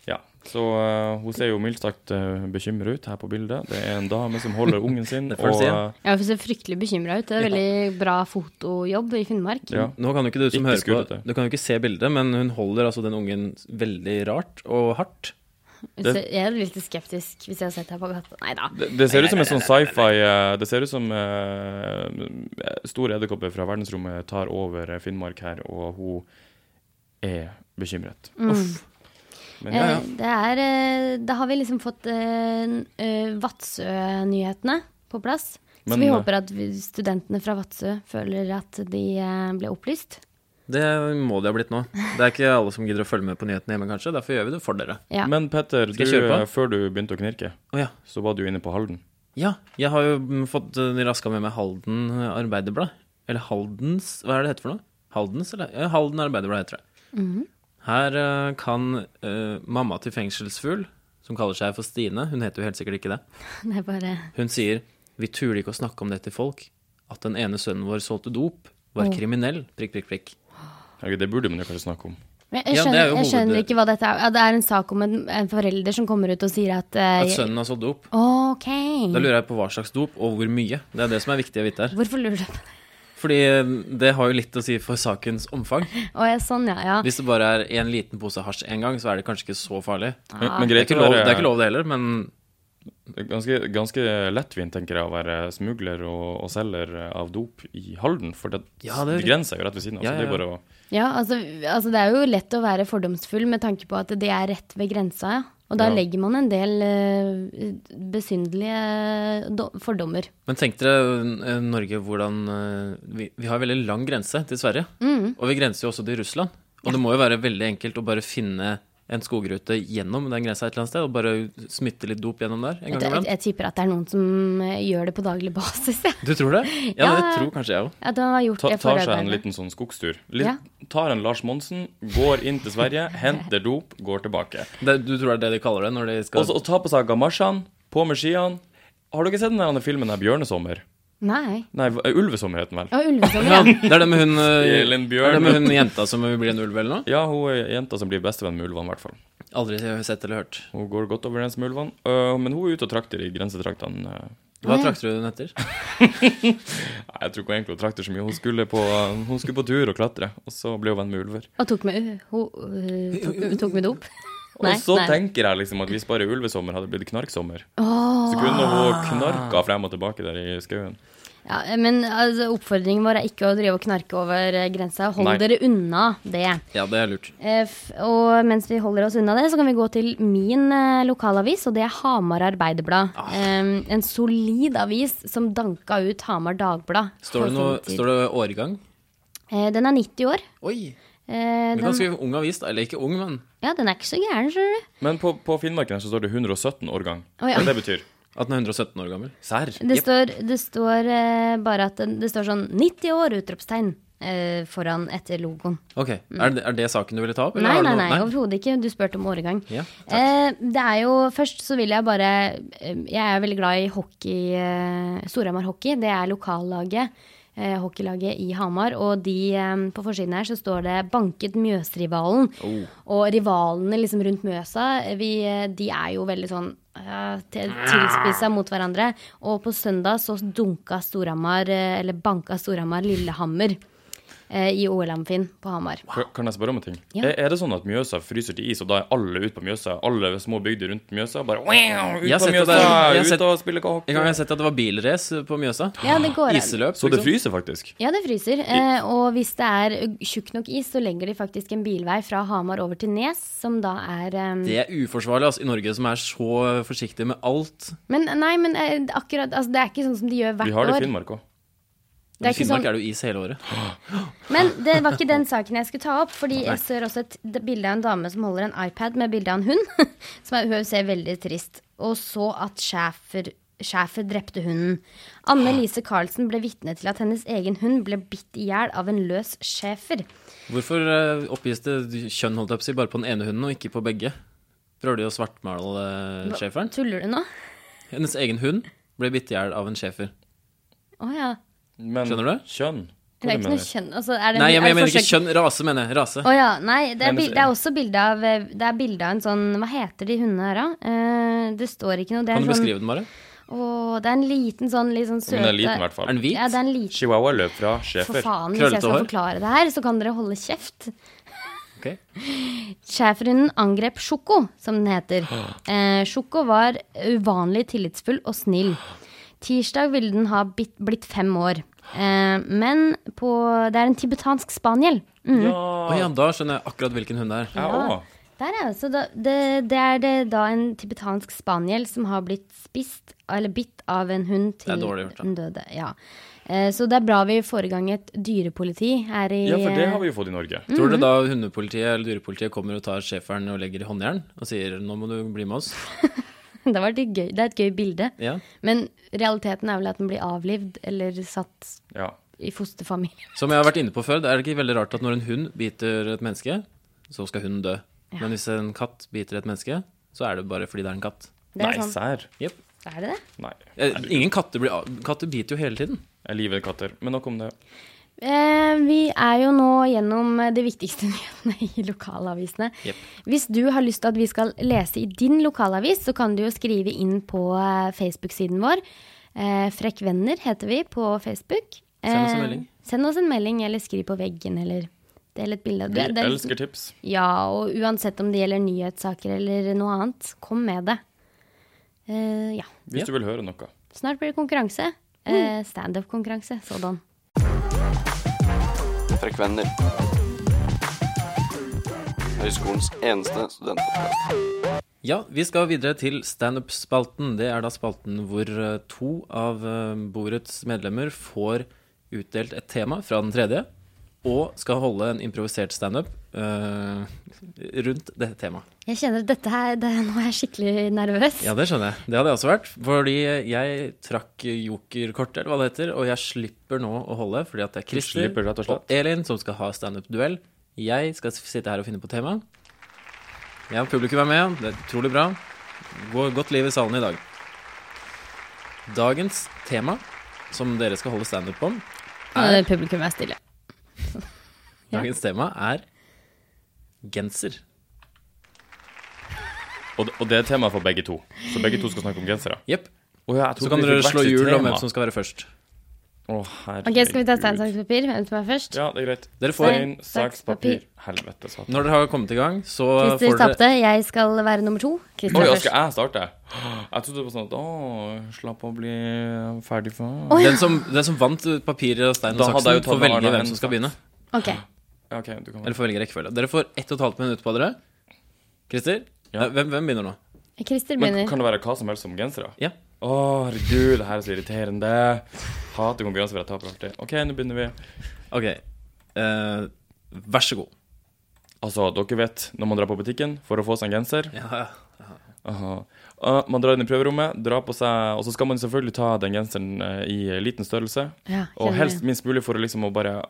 Speaker 4: Ja, så eh, hun ser jo mildt sagt uh, bekymra ut her på bildet. Det er en dame som holder ungen sin,
Speaker 5: (laughs) Det får jeg
Speaker 4: og
Speaker 5: si, ja.
Speaker 4: eh,
Speaker 3: Jeg ser fryktelig bekymra ut. Det er veldig bra fotojobb i Finnmark.
Speaker 4: eh, ja.
Speaker 5: Nå kan jo ikke du som
Speaker 4: Ikke
Speaker 5: hører
Speaker 4: skudd,
Speaker 5: på
Speaker 4: dette.
Speaker 5: Du kan jo ikke se bildet, men hun holder altså den ungen veldig rart og hardt.
Speaker 3: Så jeg er litt skeptisk hvis jeg har sett deg på gata. Nei da.
Speaker 4: Det, det ser ut som en sånn sci-fi eh, Det ser ut som uh, store edderkopper fra verdensrommet tar over eh, Finnmark her, og hun er bekymret. Men ja,
Speaker 3: Eh,
Speaker 4: ja.
Speaker 3: Det er eh, Da har vi liksom fått eh, n- eh, Vadsø-nyhetene på plass.
Speaker 4: Men,
Speaker 3: så vi
Speaker 4: eh,
Speaker 3: håper at vi, studentene fra Vadsø føler at de eh, ble opplyst.
Speaker 5: Det må de ha blitt nå. Det er ikke alle som gidder å følge med på nyhetene hjemme, kanskje. Derfor gjør vi det for dere.
Speaker 3: Ja.
Speaker 4: Men Petter, du,
Speaker 5: Skal jeg kjøre på?
Speaker 4: eh, før du begynte å knirke,
Speaker 5: Å ja.
Speaker 4: så var du inne på Halden.
Speaker 5: Ja, jeg har jo mm, fått eh, raska med meg Halden Arbeiderblad. Eller Haldens Hva er det det heter for noe? Haldens, eller? Ja, Halden Arbeiderblad heter det. Her eh, kan eh, mamma til fengselsfugl, som kaller seg for Stine Hun heter jo helt sikkert ikke det.
Speaker 3: (laughs) Det er bare
Speaker 5: Hun sier Vi tuler ikke å snakke om det til folk. At den ene sønnen vår solgte dop, var kriminell. Prikk, prikk, prikk.
Speaker 4: Herregud, det burde man jo kanskje snakke om.
Speaker 3: Men jeg
Speaker 5: Ja, det
Speaker 3: skjønner,
Speaker 5: er jo
Speaker 3: jeg skjønner
Speaker 5: hoved-
Speaker 3: ikke hva dette er. Ja, det er en sak om en, en forelder som kommer ut og sier at, eh,
Speaker 5: At sønnen har solgt dop.
Speaker 3: Ok.
Speaker 5: Da lurer jeg på hva slags dop, og hvor mye. Det er det som er viktig å vite her.
Speaker 3: Hvorfor lurer du på det?
Speaker 5: Fordi eh, det har jo litt å si for sakens omfang.
Speaker 3: Å, ja, sånn, ja. ja.
Speaker 5: Hvis det bare er en liten pose hasj en gang, så er det kanskje ikke så farlig.
Speaker 4: Men, men
Speaker 5: Det er
Speaker 4: greit
Speaker 5: ikke
Speaker 4: å
Speaker 5: lov
Speaker 4: være-
Speaker 5: det, er ikke lov det heller, men
Speaker 4: ganske, ganske lettvint, tenker jeg, å være smugler og, og selger av dop i Halden. For det,
Speaker 5: Ja,
Speaker 4: det
Speaker 5: det er-
Speaker 4: grenser jo rett ved siden av.
Speaker 5: Ja,
Speaker 4: så det er
Speaker 5: ja,
Speaker 4: bare å
Speaker 3: Ja, altså, altså det er jo lett å være fordomsfull med tanke på at det er rett ved grensa, ja. Og da
Speaker 4: Ja.
Speaker 3: legger man en del eh, besynderlige eh, do- fordommer.
Speaker 5: Men tenk dere eh, Norge hvordan eh, vi, vi har veldig lang grense til Sverige.
Speaker 3: Mm.
Speaker 5: Og vi grenser jo også til Russland. Og det må jo være veldig enkelt å bare finne en skogrute gjennom den grensa et eller annet sted, og bare smytte litt dop gjennom der en
Speaker 3: Jeg,
Speaker 5: gang
Speaker 3: jeg,
Speaker 5: iblant.
Speaker 3: jeg tipper at det er noen som eh, gjør det på daglig (laughs) basis. Ja.
Speaker 5: Du tror det? Ja,
Speaker 3: Ja,
Speaker 5: det
Speaker 3: ja.
Speaker 5: tror kanskje jeg òg.
Speaker 3: At man har gjort
Speaker 4: ta,
Speaker 3: det
Speaker 4: tar seg en
Speaker 3: forarbeidene.
Speaker 4: liten sånn skogstur. Litt,
Speaker 3: Ja.
Speaker 4: Tar en Lars Monsen, går inn til
Speaker 3: (laughs)
Speaker 4: Sverige, henter dop, går tilbake.
Speaker 5: Du tror det er det de kaller det når de skal
Speaker 4: Og så og ta på seg gamasjene, på med skiene. Har dere sett den der filmen her, 'Bjørnesommer'?
Speaker 3: Nei.
Speaker 4: Nei, eh, Ulvesommer heter den vel?
Speaker 3: Å,
Speaker 4: (laughs)
Speaker 3: ulvesommer,
Speaker 5: ja,
Speaker 3: ja.
Speaker 5: det er det med hun eh, (laughs)
Speaker 4: Elin
Speaker 5: Det
Speaker 4: Bjørn.
Speaker 5: er det med hun jenta som vil bli en ulv eller noe?
Speaker 4: Ja, hun er jenta som blir bestevenn med ulvene, i hvert fall.
Speaker 5: Aldri sett eller hørt.
Speaker 4: Hun går godt overens med ulvene. Øh, men hun er ute og trakter i grensetraktene. øh.
Speaker 5: Hva trakter du den etter?
Speaker 4: Nei, jeg tror ikke hun egentlig hun trakter så mye. Hun skulle, på, øh, hun skulle på tur og klatre, og så ble hun venn med ulver.
Speaker 3: Og tok med, uh, ho, uh, tok, tok med
Speaker 4: (laughs)
Speaker 3: dop. Nei,
Speaker 4: og så
Speaker 3: nei.
Speaker 4: tenker jeg liksom at hvis bare ulvesommer hadde blitt knarksommer, så kunne hun knarka frem og tilbake der i skauen.
Speaker 3: Ja, men altså, oppfordringen vår er ikke å drive og knarke over eh, grensa. Hold
Speaker 4: Nei.
Speaker 3: dere unna det.
Speaker 5: Ja, det er lurt.
Speaker 3: Eh, f- Og mens vi holder oss unna det, så kan vi gå til min eh, lokalavis, og det er Hamar Arbeiderblad.
Speaker 5: Ah.
Speaker 3: Eh, en solid avis som danka ut Hamar Dagblad.
Speaker 5: Står det, noe, står det årgang?
Speaker 3: Eh, den er 90 år.
Speaker 5: Oi!
Speaker 3: Eh,
Speaker 5: Det er
Speaker 3: den,
Speaker 5: ganske ung avis, da. Eller ikke ung, men
Speaker 3: ja, den er ikke så gæren, skjønner du.
Speaker 4: Men på, på Finnmarken her så står det 117 årgang.
Speaker 3: Å, ja.
Speaker 4: Hva det betyr?
Speaker 5: at den er 117 år gammel. Serr?
Speaker 3: Det står, det står eh, bare at den, det står sånn 90 år! utropstegn eh, foran etter logoen.
Speaker 5: Ok, er det, er det saken du ville ta opp? eller
Speaker 3: Mm. Nei,
Speaker 5: har du
Speaker 3: nei,
Speaker 5: noe-
Speaker 3: nei, overhodet ikke. Du spurte om årgang.
Speaker 5: Ja,
Speaker 3: eh, det er jo Først så vil jeg bare eh, Jeg er veldig glad i hockey. Eh, Storhamar Hockey. Det er lokallaget. Eh, hockeylaget i Hamar. Og de, eh, på forsiden her så står det 'Banket Mjøsrivalen'. Og rivalene liksom rundt Mjøsa, eh, vi, eh, de er jo veldig sånn eh, til- tilspissa mot hverandre. Og på søndag så dunka Storhamar, eh, eller banka Storhamar Lillehammer eh, i OL-amfien på Hamar.
Speaker 4: Kan- Kan jeg spørre om en ting?
Speaker 3: Ja.
Speaker 4: Er, er det sånn at Mjøsa fryser til is, og da er alle ute på Mjøsa? Alle små bygder rundt Mjøsa? Bare wow, ut
Speaker 5: Jeg har
Speaker 4: på
Speaker 5: sett det
Speaker 4: Mjøsa,
Speaker 5: der. Jeg har
Speaker 4: ut
Speaker 5: sett-
Speaker 4: og spille
Speaker 5: En gang har
Speaker 4: hockey.
Speaker 5: jeg sett at det var bilrace på Mjøsa.
Speaker 3: Ja, det går an.
Speaker 5: Iseløp.
Speaker 4: Så det
Speaker 5: liksom.
Speaker 4: fryser faktisk?
Speaker 3: Ja, det fryser. Eh, og hvis det er tjukk nok is, så legger de faktisk en bilvei fra Hamar over til Nes, som da er eh,
Speaker 5: Det er uforsvarlig altså, i Norge, som er så forsiktig med alt.
Speaker 3: Men nei, men eh, akkurat altså, Det er ikke sånn som de gjør hvert
Speaker 4: Vi har det i
Speaker 3: år.
Speaker 4: Finnmark òg.
Speaker 3: Det
Speaker 5: I
Speaker 3: er ikke
Speaker 5: Finnmark
Speaker 3: sånn,
Speaker 5: er det jo is hele året.
Speaker 4: (laughs)
Speaker 3: men det var ikke den saken jeg skulle ta opp. Fordi jeg ser også et d- bilde av en dame som holder en iPad med bilde av en hund. (laughs) Som er, hun ser veldig trist. Og så at schæfer schæfer drepte hunden. Anne Lise Carlsen ble vitne til at hennes egen hund ble bitt i hjel av en løs schæfer.
Speaker 5: Hvorfor eh, oppgis det kjønn holdt jeg på å si, bare på den ene hunden og ikke på begge? Prøver de å svartmale eh, schæferen?
Speaker 3: Tuller du nå?
Speaker 5: Hennes egen hund ble bitt i hjel av en schæfer.
Speaker 3: Å ja.
Speaker 4: Men
Speaker 5: Skjønner du?
Speaker 4: kjønn? Hva
Speaker 3: Det er
Speaker 4: du
Speaker 3: ikke
Speaker 4: mener?
Speaker 3: noe kjønn altså, er det,
Speaker 5: Nei, jeg,
Speaker 3: er det
Speaker 5: jeg mener ikke
Speaker 3: forsøk-
Speaker 5: kjønn. Rase, mener jeg. Rase.
Speaker 3: Å ja, nei, det er,
Speaker 4: Nei, men-
Speaker 3: bil, det er også bilde av eh, Det er bilde av en sånn Hva heter de hundene her, da? Eh, det står ikke noe. Det er,
Speaker 5: Kan du
Speaker 3: en sånn,
Speaker 5: beskrive den bare?
Speaker 3: å, det er en liten sånn litt sånn søte
Speaker 4: Men det er liten, i hvert
Speaker 5: Er den
Speaker 4: fall.
Speaker 5: hvit?
Speaker 3: Ja, det er en liten
Speaker 4: Chihuahua løp fra
Speaker 3: For
Speaker 4: schæfer.
Speaker 3: faen, hvis
Speaker 5: Krøllete
Speaker 3: jeg skal
Speaker 5: hår?
Speaker 3: forklare det her, så kan dere holde kjeft.
Speaker 5: Ok.
Speaker 3: Schæferhunden angrep Sjoko, som den heter. Eh, Sjoko var uvanlig tillitsfull og snill. Tirsdag ville den ha bitt, blitt fem år. Eh, men på Det er en tibetansk spaniel. Mm.
Speaker 5: Å ja, da skjønner jeg akkurat hvilken hund det er.
Speaker 4: Ja,
Speaker 3: Ja.
Speaker 4: å.
Speaker 3: Der er altså da, det, det er det da en tibetansk spaniel som har blitt spist, eller bitt av en hund
Speaker 5: er
Speaker 3: til
Speaker 5: dårlig gjort, da.
Speaker 3: den døde. Ja. Eh, Så det er bra vi får i gang et dyrepoliti her i
Speaker 4: ja, for det
Speaker 3: eh,
Speaker 4: har vi jo fått i Norge.
Speaker 5: Tror dere da hundepolitiet eller dyrepolitiet kommer og tar schæferen og legger i håndjern og sier 'nå må du bli med oss'?
Speaker 3: eh, (laughs) det, var litt gøy, det er et gøy bilde.
Speaker 5: Ja.
Speaker 3: Men realiteten er vel at den blir avlivd eller satt
Speaker 4: Ja.
Speaker 3: i fosterfamilie.
Speaker 5: Som jeg har vært inne på før, det er det ikke veldig rart at når en hund biter et menneske, så skal hunden dø. Men hvis en katt biter et menneske, så er det bare fordi det er en katt.
Speaker 3: Det
Speaker 4: Nei,
Speaker 3: er sånn.
Speaker 4: sær.
Speaker 5: Jep.
Speaker 3: Er det det?
Speaker 4: Nei.
Speaker 5: Eh, Ingen katter blir av... Katter biter jo hele tiden.
Speaker 4: Jeg liver katter. Men nok om det.
Speaker 3: Eh, vi er jo nå gjennom eh, de viktigste (laughs) nyhetene i lokalavisene.
Speaker 5: Jep.
Speaker 3: Hvis du har lyst til at vi skal lese i din lokalavis, så kan du jo skrive inn på eh, Facebook-siden vår. Eh, Frekk venner heter vi på Facebook.
Speaker 5: Send oss en
Speaker 3: Eh,
Speaker 5: melding.
Speaker 3: Send oss en melding, eller skriv på veggen, eller del et bilde. av-
Speaker 4: Vi
Speaker 3: det- det er liksom-
Speaker 4: elsker tips.
Speaker 3: Ja, og uansett om det gjelder nyhetssaker eller noe annet, kom med det. Eh, ja.
Speaker 4: Hvis du vil høre noe.
Speaker 3: Snart blir det konkurranse. Eh,
Speaker 5: Mm.
Speaker 3: Standup-konkurranse, sådan.
Speaker 9: Frekkvenner. Høyskolens eneste studentpodkast.
Speaker 5: Ja, vi skal videre til standup-spalten. Det er da spalten hvor eh, to av eh, borets medlemmer får utdelt et tema fra den tredje, og skal holde en improvisert standup eh, rundt det temaet.
Speaker 3: Jeg kjenner at dette her, det, nå er jeg skikkelig nervøs.
Speaker 5: Ja, det skjønner jeg. Det hadde jeg også vært. Fordi jeg trakk jokerkortet, eller hva det heter, og jeg slipper nå å holde, fordi at det er Christer
Speaker 4: slipper rett og slett.
Speaker 5: Elin som skal ha standup-duell. Jeg skal sitte her og finne på tema. Ja, publikum er med. Det er utrolig bra. Går godt liv i salen i dag. Dagens tema, som dere skal holde standup om,
Speaker 3: Nå er Publikum er stille.
Speaker 5: dagens tema er genser.
Speaker 4: Og, og det er temaet for begge to. Så begge to skal snakke om gensere.
Speaker 5: Jepp.
Speaker 4: Å ja, jeg
Speaker 5: Så
Speaker 4: trodde
Speaker 5: kan
Speaker 4: vi
Speaker 5: dere
Speaker 4: fikk
Speaker 5: slå
Speaker 4: hvert sitt
Speaker 5: hjul om
Speaker 4: tema.
Speaker 5: hvem som skal være først.
Speaker 4: Å,
Speaker 3: Ok, Skal vi ta
Speaker 4: herregud.
Speaker 3: stein, saks, papir? Hvem som er først?
Speaker 4: Ja, det er greit.
Speaker 5: Dere får-
Speaker 4: Stein, saks, papir. Helvete, satan.
Speaker 5: Når dere har kommet i gang, så
Speaker 3: Christer
Speaker 5: får dere
Speaker 3: tapte. Jeg skal være nummer to. Christer
Speaker 4: Oi,
Speaker 3: er
Speaker 4: ja,
Speaker 3: først.
Speaker 4: skal jeg starte? Jeg trodde det var sånn at Å, slapp av å bli ferdig for
Speaker 5: Den som, den som vant papir og stein og
Speaker 4: Da hadde jeg
Speaker 5: saksen,
Speaker 4: jo tatt
Speaker 5: får
Speaker 4: med
Speaker 5: velge
Speaker 4: Arne
Speaker 5: hvem som skal
Speaker 4: Hennes.
Speaker 5: begynne.
Speaker 3: Ok,
Speaker 4: Ja, OK, du kan
Speaker 5: Eller får velge rekkefølge. Dere får ett og et halvt minutt på dere. Christer,
Speaker 4: Ja.
Speaker 5: eh, hvem, hvem begynner nå?
Speaker 3: Christer
Speaker 4: Men
Speaker 3: begynner.
Speaker 4: kan det være hva som helst som gensere?
Speaker 5: Ja.
Speaker 4: Å, herregud, det her er så irriterende. Hater konkurranser for jeg taper alltid. OK, nå begynner vi.
Speaker 5: Ok. eh, vær så god.
Speaker 4: Altså, dere vet, når man drar på butikken for å få seg en genser
Speaker 5: Ja.
Speaker 4: aha. Ah, Man drar inn i prøverommet, drar på seg Og så skal man selvfølgelig ta den genseren eh, i liten størrelse.
Speaker 3: Ja,
Speaker 4: Og
Speaker 3: kjenner
Speaker 4: helst
Speaker 3: jeg.
Speaker 4: minst mulig for å liksom å bare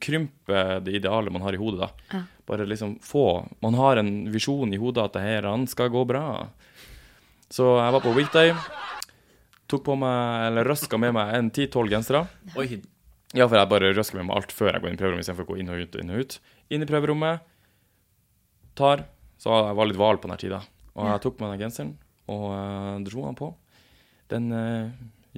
Speaker 4: krympe det idealet man har i hodet, da.
Speaker 3: Ja.
Speaker 4: Bare liksom få Man har en visjon i hodet at det her han skal gå bra. Så jeg var på weekday, tok på meg, eller røska med meg en ti-tolv gensere.
Speaker 5: Oi.
Speaker 4: Ja, for jeg bare røsker med meg alt før jeg går inn i prøverommet, istedenfor å gå inn og ut og inn og ut. Inn i prøverommet, tar Så jeg var litt hval på den her tida. Og jeg tok med den genseren og eh, dro den på. Den eh,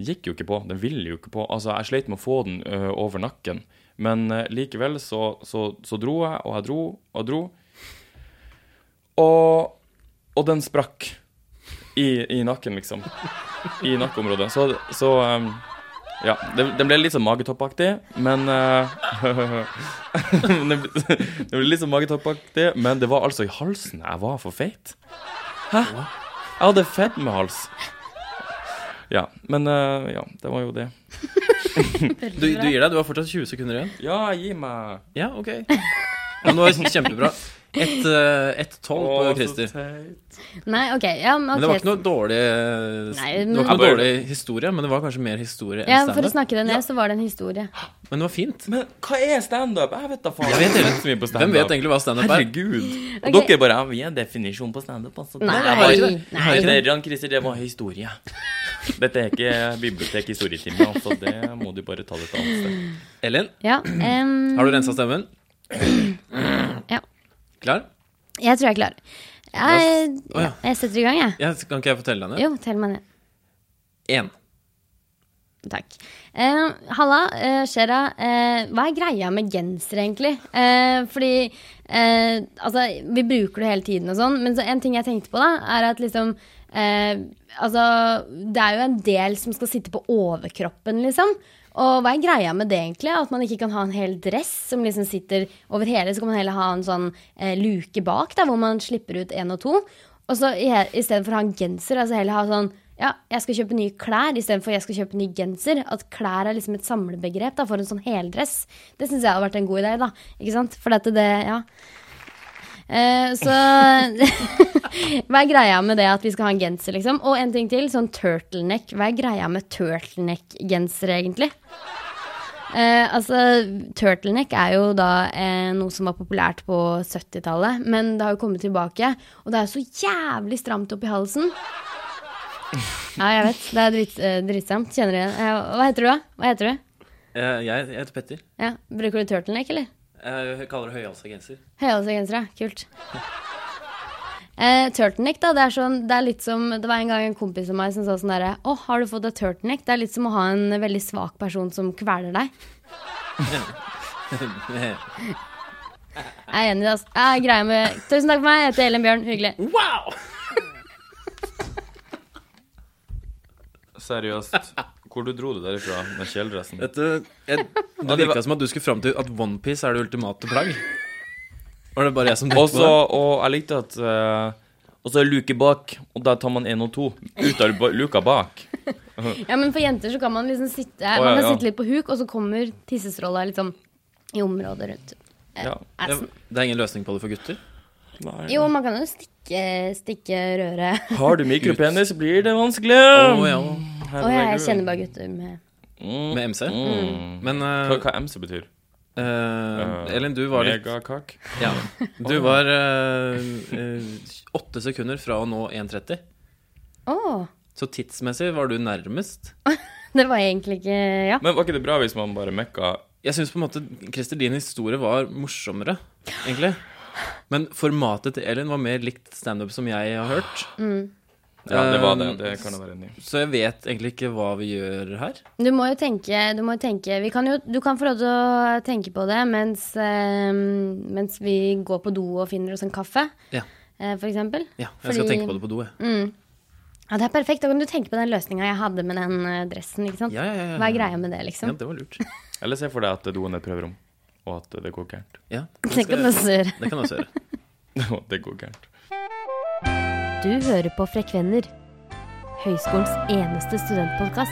Speaker 4: gikk jo ikke på. Den ville jo ikke på. Altså, jeg sleit med å få den eh, over nakken. Men eh, likevel så, så, så dro jeg, og jeg dro og dro. Og, og den sprakk i, i nakken, liksom. I nakkeområdet. Så, så eh, ja, det, den ble litt sånn magetoppaktig, men eh, (laughs) men det, ble- (laughs) det ble litt sånn magetoppaktig, men det var altså i halsen jeg var for feit. Hæ? Jeg hadde fett med hals. Ja, men eh, ja, det var jo det.
Speaker 5: Du, du gir deg. Du har fortsatt 20 sekunder igjen.
Speaker 4: Ja, gi meg
Speaker 5: Ja, ok. Ja, men det var kjempebra. Ett eh, ett tolv på
Speaker 4: Å, så
Speaker 5: Christer.
Speaker 4: teit.
Speaker 3: Nei, ok. Ja, men
Speaker 5: Men det var
Speaker 3: ok.
Speaker 5: ikke noe dårlig eh,
Speaker 3: Nei,
Speaker 5: Det var
Speaker 3: men-
Speaker 5: ikke noe dårlig historie, men det var kanskje mer historie
Speaker 3: Ja,
Speaker 5: enn
Speaker 3: For å
Speaker 5: standup.
Speaker 3: snakke det ned, så var det en historie.
Speaker 5: Men det var fint.
Speaker 4: Men hva er standup? Jeg vet da faen.
Speaker 5: Jeg vet
Speaker 4: ikke
Speaker 5: egentlig-
Speaker 4: så mye på
Speaker 5: Hvem
Speaker 4: standup.
Speaker 5: vet egentlig hva standup er?
Speaker 4: Herregud. Og
Speaker 3: Ok.
Speaker 4: dere bare ja, Vi har en definisjon på standup. Altså.
Speaker 3: Nei,
Speaker 4: Det var ikke det.
Speaker 3: nei.
Speaker 4: Men dere, Jan Christer, det var historie. Dette er ikke bibliotek historietime, altså. Det må du bare ta litt annet sted.
Speaker 5: Elin,
Speaker 3: Ja, em,
Speaker 5: har du rensa stemmen?
Speaker 3: (clears throat) Ja.
Speaker 5: Klar?
Speaker 3: jeg tror jeg er klar. Jeg,
Speaker 5: Å, ja.
Speaker 3: jeg setter i gang, jeg.
Speaker 5: Ja, kan ikke jeg fortelle deg det?
Speaker 3: Jo, tell meg ned.
Speaker 5: Én.
Speaker 3: Takk. Eh, halla, eh, Shera. Eh, hva er greia med genser, egentlig? Eh, fordi eh, Altså, vi bruker det hele tiden og sånn, men så en ting jeg tenkte på, da, er at liksom eh, Altså, det er jo en del som skal sitte på overkroppen, liksom. Og hva er greia med det, egentlig? At man ikke kan ha en hel dress som liksom sitter over hele, så kan man heller ha en sånn eh, luke bak, da, hvor man slipper ut én og to. Og så i, i stedet for å ha en genser, altså heller ha sånn ja, jeg skal kjøpe nye klær istedenfor jeg skal kjøpe ny genser. At klær er liksom et samlebegrep da, for en sånn heldress. Det syns jeg hadde vært en god idé, da. Ikke sant? For dette, det Ja. Eh, så (laughs) Hva er greia med det at vi skal ha en genser, liksom? Og en ting til, sånn turtleneck. Hva er greia med turtleneck-genser, egentlig? Eh, altså, Turtleneck er jo da eh, noe som var populært på 70-tallet, men det har jo kommet tilbake. Og det er jo så jævlig stramt oppi halsen. Ja, jeg vet. Det er drit, eh, dritstramt. Kjenner du igjen? Eh, hva heter du, da? Hva heter du?
Speaker 5: Eh, Jeg jeg heter Petter. Eh,
Speaker 3: Ja, bruker du turtleneck, eller?
Speaker 5: Jeg kaller det høyhalsa genser.
Speaker 3: Høyhalsa genser, ja. Kult. Eh, turtleneck, da. Det er, sånn, det er litt som Det var en gang en kompis av meg som sa sånn derre Å, har du fått deg turtleneck? Det er litt som å ha en veldig svak person som kveler deg. Jeg er enig, altså. Jeg er greia med Tusen takk for meg. Jeg heter Elin Bjørn. Hyggelig.
Speaker 5: Wow!
Speaker 4: Seriøst. Hvor du dro du derifra med kjeledressen?
Speaker 5: Dette, (laughs) jeg, det virka som at du skulle fram til at onepiece er det ultimate plagg. Var det bare jeg som
Speaker 4: Og
Speaker 5: tenkte på
Speaker 4: så,
Speaker 5: det?
Speaker 4: og jeg likte at eh, Og så er luke bak, og da tar man én og to. Ut av ba- luka bak.
Speaker 3: Ja, men for jenter så kan man liksom sitte
Speaker 4: ja,
Speaker 3: Man kan
Speaker 4: ja.
Speaker 3: sitte litt på huk, og så kommer tissestråla litt sånn i området rundt.
Speaker 4: Ja.
Speaker 5: Det,
Speaker 3: Assen.
Speaker 5: det er ingen løsning på det for gutter?
Speaker 3: Jo, man kan jo stikke, stikke røret.
Speaker 4: Har du mikropenis, blir det vanskelig.
Speaker 5: Å ja,
Speaker 3: Å ja, jeg kjenner bare gutter med
Speaker 5: med MC?
Speaker 4: Mm.
Speaker 5: Men
Speaker 4: Hva,
Speaker 5: eh,
Speaker 4: hva MC betyr?
Speaker 5: eh, Elin, du var litt
Speaker 4: Megakak?
Speaker 5: ja, Du var eh, eh, åtte sekunder fra å nå 1,30.
Speaker 3: Å!
Speaker 5: Så tidsmessig var du nærmest.
Speaker 3: Det var egentlig ikke Ja.
Speaker 4: Men var ikke det bra hvis man bare mekka
Speaker 5: Jeg syns på en måte Christer, din historie var morsommere, egentlig. Men formatet til Elin var mer likt standup som jeg har hørt.
Speaker 4: Ja, det var det. Det kan jeg være enig i.
Speaker 5: Så jeg vet egentlig ikke hva vi gjør her.
Speaker 3: Du må jo tenke, du må jo tenke vi kan jo, Du kan få lov til å tenke på det mens, eh, mens vi går på do og finner oss en kaffe,
Speaker 5: Ja,
Speaker 3: eh, for eksempel.
Speaker 5: ja jeg
Speaker 3: Fordi-
Speaker 5: skal
Speaker 3: Mm.
Speaker 5: tenke på det på do, jeg.
Speaker 3: Ja, det er perfekt. Da kan du tenke på den løsninga jeg hadde med den eh, dressen. ikke sant?
Speaker 5: Ja, ja, ja, ja.
Speaker 3: Hva er greia med det,
Speaker 5: Ja,
Speaker 3: liksom?
Speaker 5: det var lurt.
Speaker 4: Eller se for deg at doen er et prøverom, og at det går gærent. (laughs)
Speaker 5: Ja,
Speaker 3: Det kan du også gjøre.
Speaker 5: det kan jeg også gjøre.
Speaker 4: Og det går gærent.
Speaker 8: Du hører på Frekvenner, høyskolens eneste studentpodkast.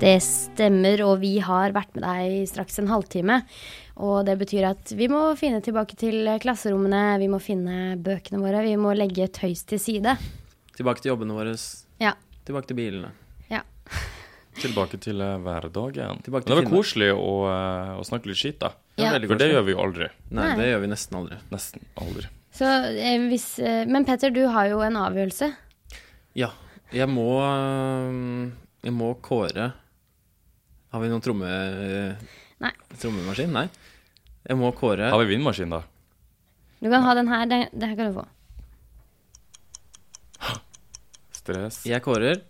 Speaker 3: Det stemmer, og vi har vært med deg i straks en halvtime. Og det betyr at vi må finne tilbake til klasserommene, vi må finne bøkene våre, vi må legge tøys til side.
Speaker 5: Tilbake til jobbene våre,
Speaker 3: Ja.
Speaker 5: tilbake til bilene.
Speaker 3: ja.
Speaker 4: Tilbake til eh, hverdagen.
Speaker 5: Tilbake
Speaker 4: Men det
Speaker 5: til
Speaker 4: var koselig å, eh, å snakke litt skit, da.
Speaker 3: Ja.
Speaker 5: veldig
Speaker 4: For det
Speaker 5: koselig.
Speaker 4: gjør vi jo aldri.
Speaker 5: Nei, det gjør vi nesten aldri.
Speaker 4: Nesten aldri.
Speaker 3: Så eh, hvis eh, Men Petter, du har jo en avgjørelse.
Speaker 5: Ja, jeg må øhm, Jeg må kåre Har vi noen tromme...
Speaker 3: Nei.
Speaker 5: Trommemaskin? Nei. Jeg må kåre
Speaker 4: Har vi vindmaskin, da?
Speaker 3: Du kan ha den her. Den, det her kan du få.
Speaker 4: Stress.
Speaker 5: Jeg kårer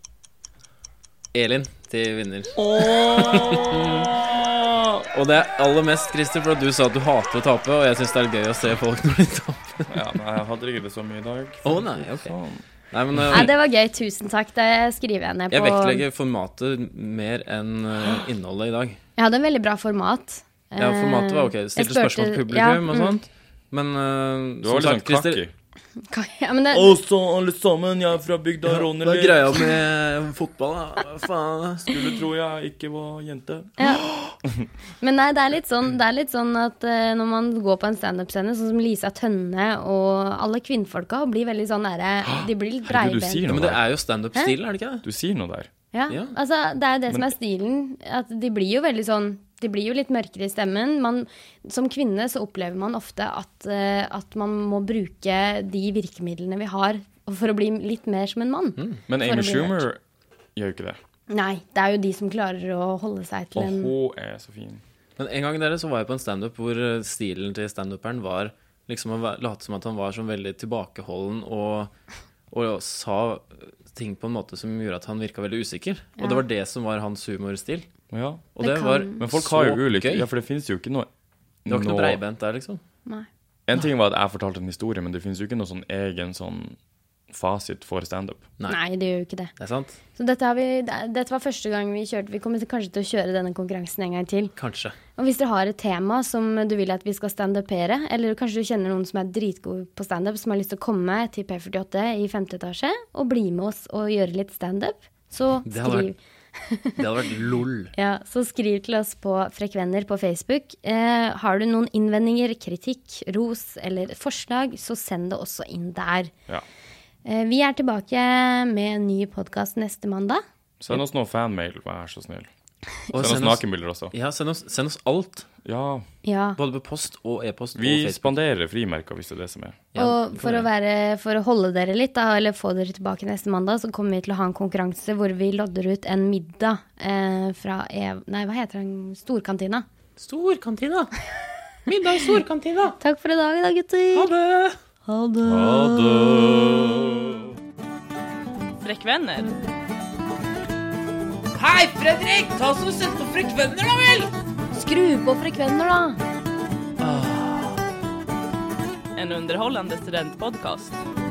Speaker 5: Elin til vinner. (laughs) og det er aller mest, Christer, for at du sa at du hater å tape, og jeg syns det er gøy å se folk når de taper.
Speaker 4: Ja, men jeg hadde ikke det så mye i dag. Sånn.
Speaker 5: Å nei, ok.
Speaker 4: Faen.
Speaker 5: Nei, men øh,
Speaker 3: Nei, det var gøy. Tusen takk. Det skriver jeg ned på
Speaker 5: jeg vektlegger formatet mer enn øh, innholdet i dag.
Speaker 3: Jeg hadde en veldig bra format.
Speaker 5: Ja,
Speaker 3: Eh,
Speaker 5: formatet var ok.
Speaker 3: jeg
Speaker 5: Stilte
Speaker 3: spurte-
Speaker 5: spørsmål til
Speaker 3: ja,
Speaker 5: publikum og sånn.
Speaker 3: mm.
Speaker 5: sånt. Men øh,
Speaker 4: Du var litt sånn
Speaker 5: Christer,
Speaker 4: kaki.
Speaker 3: Ja, men det,
Speaker 4: Og så, alle sånn, sammen, jeg er fra bygda
Speaker 5: Hva er greia med fotball, da? Faen.
Speaker 4: Skulle tro jeg ikke var jente.
Speaker 3: Men nei, det er litt sånn, det er litt sånn at eh, når man går på en standup-scene, sånn som Lisa Tønne og alle kvinnfolka, blir veldig sånn derre De blir litt
Speaker 4: Herregud, du
Speaker 3: breibent.
Speaker 4: sier
Speaker 5: Ja, men
Speaker 4: noe
Speaker 5: det
Speaker 4: der.
Speaker 5: er jo standup-stil, er det ikke det?
Speaker 4: Du sier noe der.
Speaker 3: Ja,
Speaker 5: Ja.
Speaker 3: altså det er jo det som er stilen. At de blir jo veldig sånn De blir jo litt mørkere i stemmen. Man, som kvinne så opplever man ofte at, eh, at man må bruke de virkemidlene vi har for å bli litt mer som en mann.
Speaker 4: Men
Speaker 3: For å
Speaker 4: Amy
Speaker 3: bli
Speaker 4: Schumer gjør jo ikke det.
Speaker 3: Nei, det er jo de som klarer å holde seg til
Speaker 4: Og
Speaker 3: en
Speaker 4: hun er så fin.
Speaker 5: Men en gang dere så var jeg på en standup hvor eh, stilen til standuperen var liksom å væ- late som at han var sånn veldig tilbakeholden og, og sa eh, ting på en måte som gjorde at han virka veldig usikker. Og det var det som var hans humorstil.
Speaker 4: Ja.
Speaker 5: Og det, var
Speaker 4: Men folk har jo ulik
Speaker 5: gøy.
Speaker 4: Ja, for det finnes jo ikke noe
Speaker 5: Det var ikke noe
Speaker 4: noe-
Speaker 5: breibent der, liksom.
Speaker 4: En ting var at jeg fortalte en historie, men det finnes jo ikke noe sånn egen sånn fasit for standup.
Speaker 5: Nei.
Speaker 3: Nei, det gjør jo ikke det.
Speaker 5: Det er sant?
Speaker 3: Så dette, har vi, det- dette var første gang vi kjørte. Vi kommer til- kanskje til å kjøre denne konkurransen en gang til.
Speaker 5: Kanskje.
Speaker 3: Og hvis dere har et tema som du vil at vi skal standupere, eller kanskje du kjenner noen som er dritgod på standup, som har lyst til å komme til P48 i femte etasje og bli med oss og gjøre litt standup, så
Speaker 5: Det hadde
Speaker 3: skriv.
Speaker 5: vært- Det hadde vært lol.
Speaker 4: (laughs)
Speaker 3: Ja, så skriv til oss på Frekvenner på Facebook. Eh, har du noen innvendinger, kritikk, ros eller forslag, så send det også inn der.
Speaker 4: Ja.
Speaker 3: Eh, vi er tilbake med en ny podkast neste mandag.
Speaker 4: Send oss noe fanmail, vær så snill.
Speaker 5: Og
Speaker 4: Send oss nakenbilder også.
Speaker 5: Ja, send oss, send oss alt.
Speaker 4: Ja.
Speaker 3: Ja.
Speaker 5: Både på post og e-post. og
Speaker 4: Vi
Speaker 5: Facebook.
Speaker 4: spanderer frimerker, hvis det er det som er.
Speaker 5: Ja,
Speaker 3: og
Speaker 5: det
Speaker 3: for
Speaker 5: kan
Speaker 3: å,
Speaker 5: vi.
Speaker 3: være, for å holde dere litt, da, eller få dere tilbake neste mandag, så kommer vi til å ha en konkurranse hvor vi lodder ut en middag eh, fra Ev... Nei, hva heter den? Storkantina.
Speaker 10: Storkantina. Middag i storkantina.
Speaker 3: Takk for i dag, da, gutter.
Speaker 10: Ha det.
Speaker 4: Ha det!
Speaker 2: Frekkvenner.
Speaker 10: Hei, Fredrik! Ta oss og sett på frekvenner, da vel!
Speaker 3: Skru på frekvenner, da.
Speaker 2: En underhållande studentpodcast.